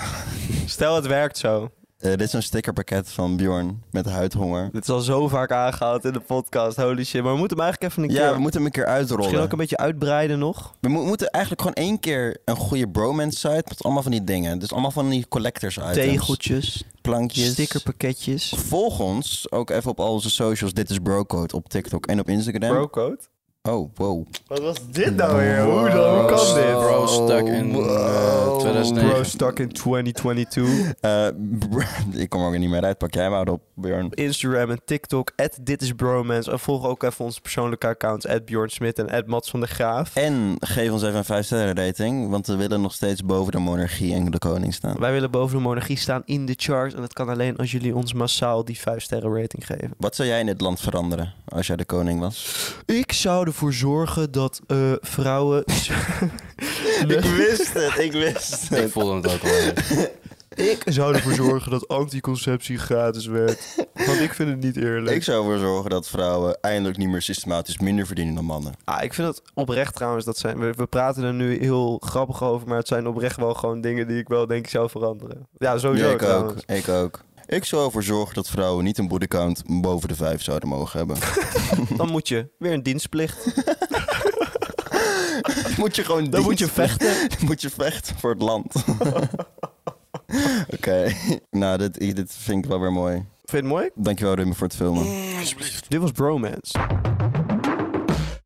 Speaker 1: Stel, het werkt zo.
Speaker 2: Eh, dit is een stickerpakket van Bjorn met huidhonger.
Speaker 1: Dit is al zo vaak aangehaald in de podcast. Holy shit. Maar we moeten hem eigenlijk even een
Speaker 2: Ja,
Speaker 1: keer...
Speaker 2: we moeten hem een keer uitrollen.
Speaker 1: Misschien ook een beetje uitbreiden nog.
Speaker 2: We mo- moeten eigenlijk gewoon één keer een goede bromance site met allemaal van die dingen. Dus allemaal van die collectors items.
Speaker 1: Tegeltjes,
Speaker 2: plankjes.
Speaker 1: stickerpakketjes.
Speaker 2: Volg ons ook even op al onze socials. Dit is Brocode op TikTok en op Instagram.
Speaker 1: Brocode?
Speaker 2: Oh, wow.
Speaker 1: Wat was dit nou weer? Hoe dan? Hoe kan dit?
Speaker 3: Bro stuck in eh, 2009.
Speaker 1: Bro stuck in 2022.
Speaker 2: Eh, br- ik kom er ook niet meer uit. Pak jij maar op, Björn.
Speaker 1: Instagram en TikTok, dit is bromance. En volg ook even onze persoonlijke accounts, Bjorn Smit en Mats van der Graaf.
Speaker 2: En geef ons even een 5 sterren rating, want we willen nog steeds boven de monarchie en de koning staan.
Speaker 1: Wij willen boven de monarchie staan in de charts. En dat kan alleen als jullie ons massaal die 5 sterren rating geven.
Speaker 2: Wat zou jij in dit land veranderen als jij de koning was?
Speaker 1: Ik zou ervoor zorgen dat eh, vrouwen.
Speaker 2: Ik wist het, ik wist
Speaker 3: Ik voelde het ook al.
Speaker 1: ik zou ervoor zorgen dat anticonceptie gratis werd. Want ik vind het niet eerlijk.
Speaker 2: Ik zou ervoor zorgen dat vrouwen eindelijk niet meer systematisch minder verdienen dan mannen.
Speaker 1: Ah, ik vind het oprecht trouwens. Dat zijn, we, we praten er nu heel grappig over. Maar het zijn oprecht wel gewoon dingen die ik wel denk ik zou veranderen. Ja, sowieso.
Speaker 2: ik ook,
Speaker 1: trouwens.
Speaker 2: ik ook. Ik zou ervoor zorgen dat vrouwen niet een bodycount boven de 5 zouden mogen hebben.
Speaker 1: Dan moet je weer een dienstplicht.
Speaker 2: moet je gewoon
Speaker 1: Dan moet je vechten.
Speaker 2: Dan moet je vechten voor het land. Oké, nou dit, dit vind ik wel weer mooi.
Speaker 1: Vind je het mooi?
Speaker 2: Dankjewel Ruben voor het filmen.
Speaker 3: Alsjeblieft.
Speaker 1: Dit was Bromance.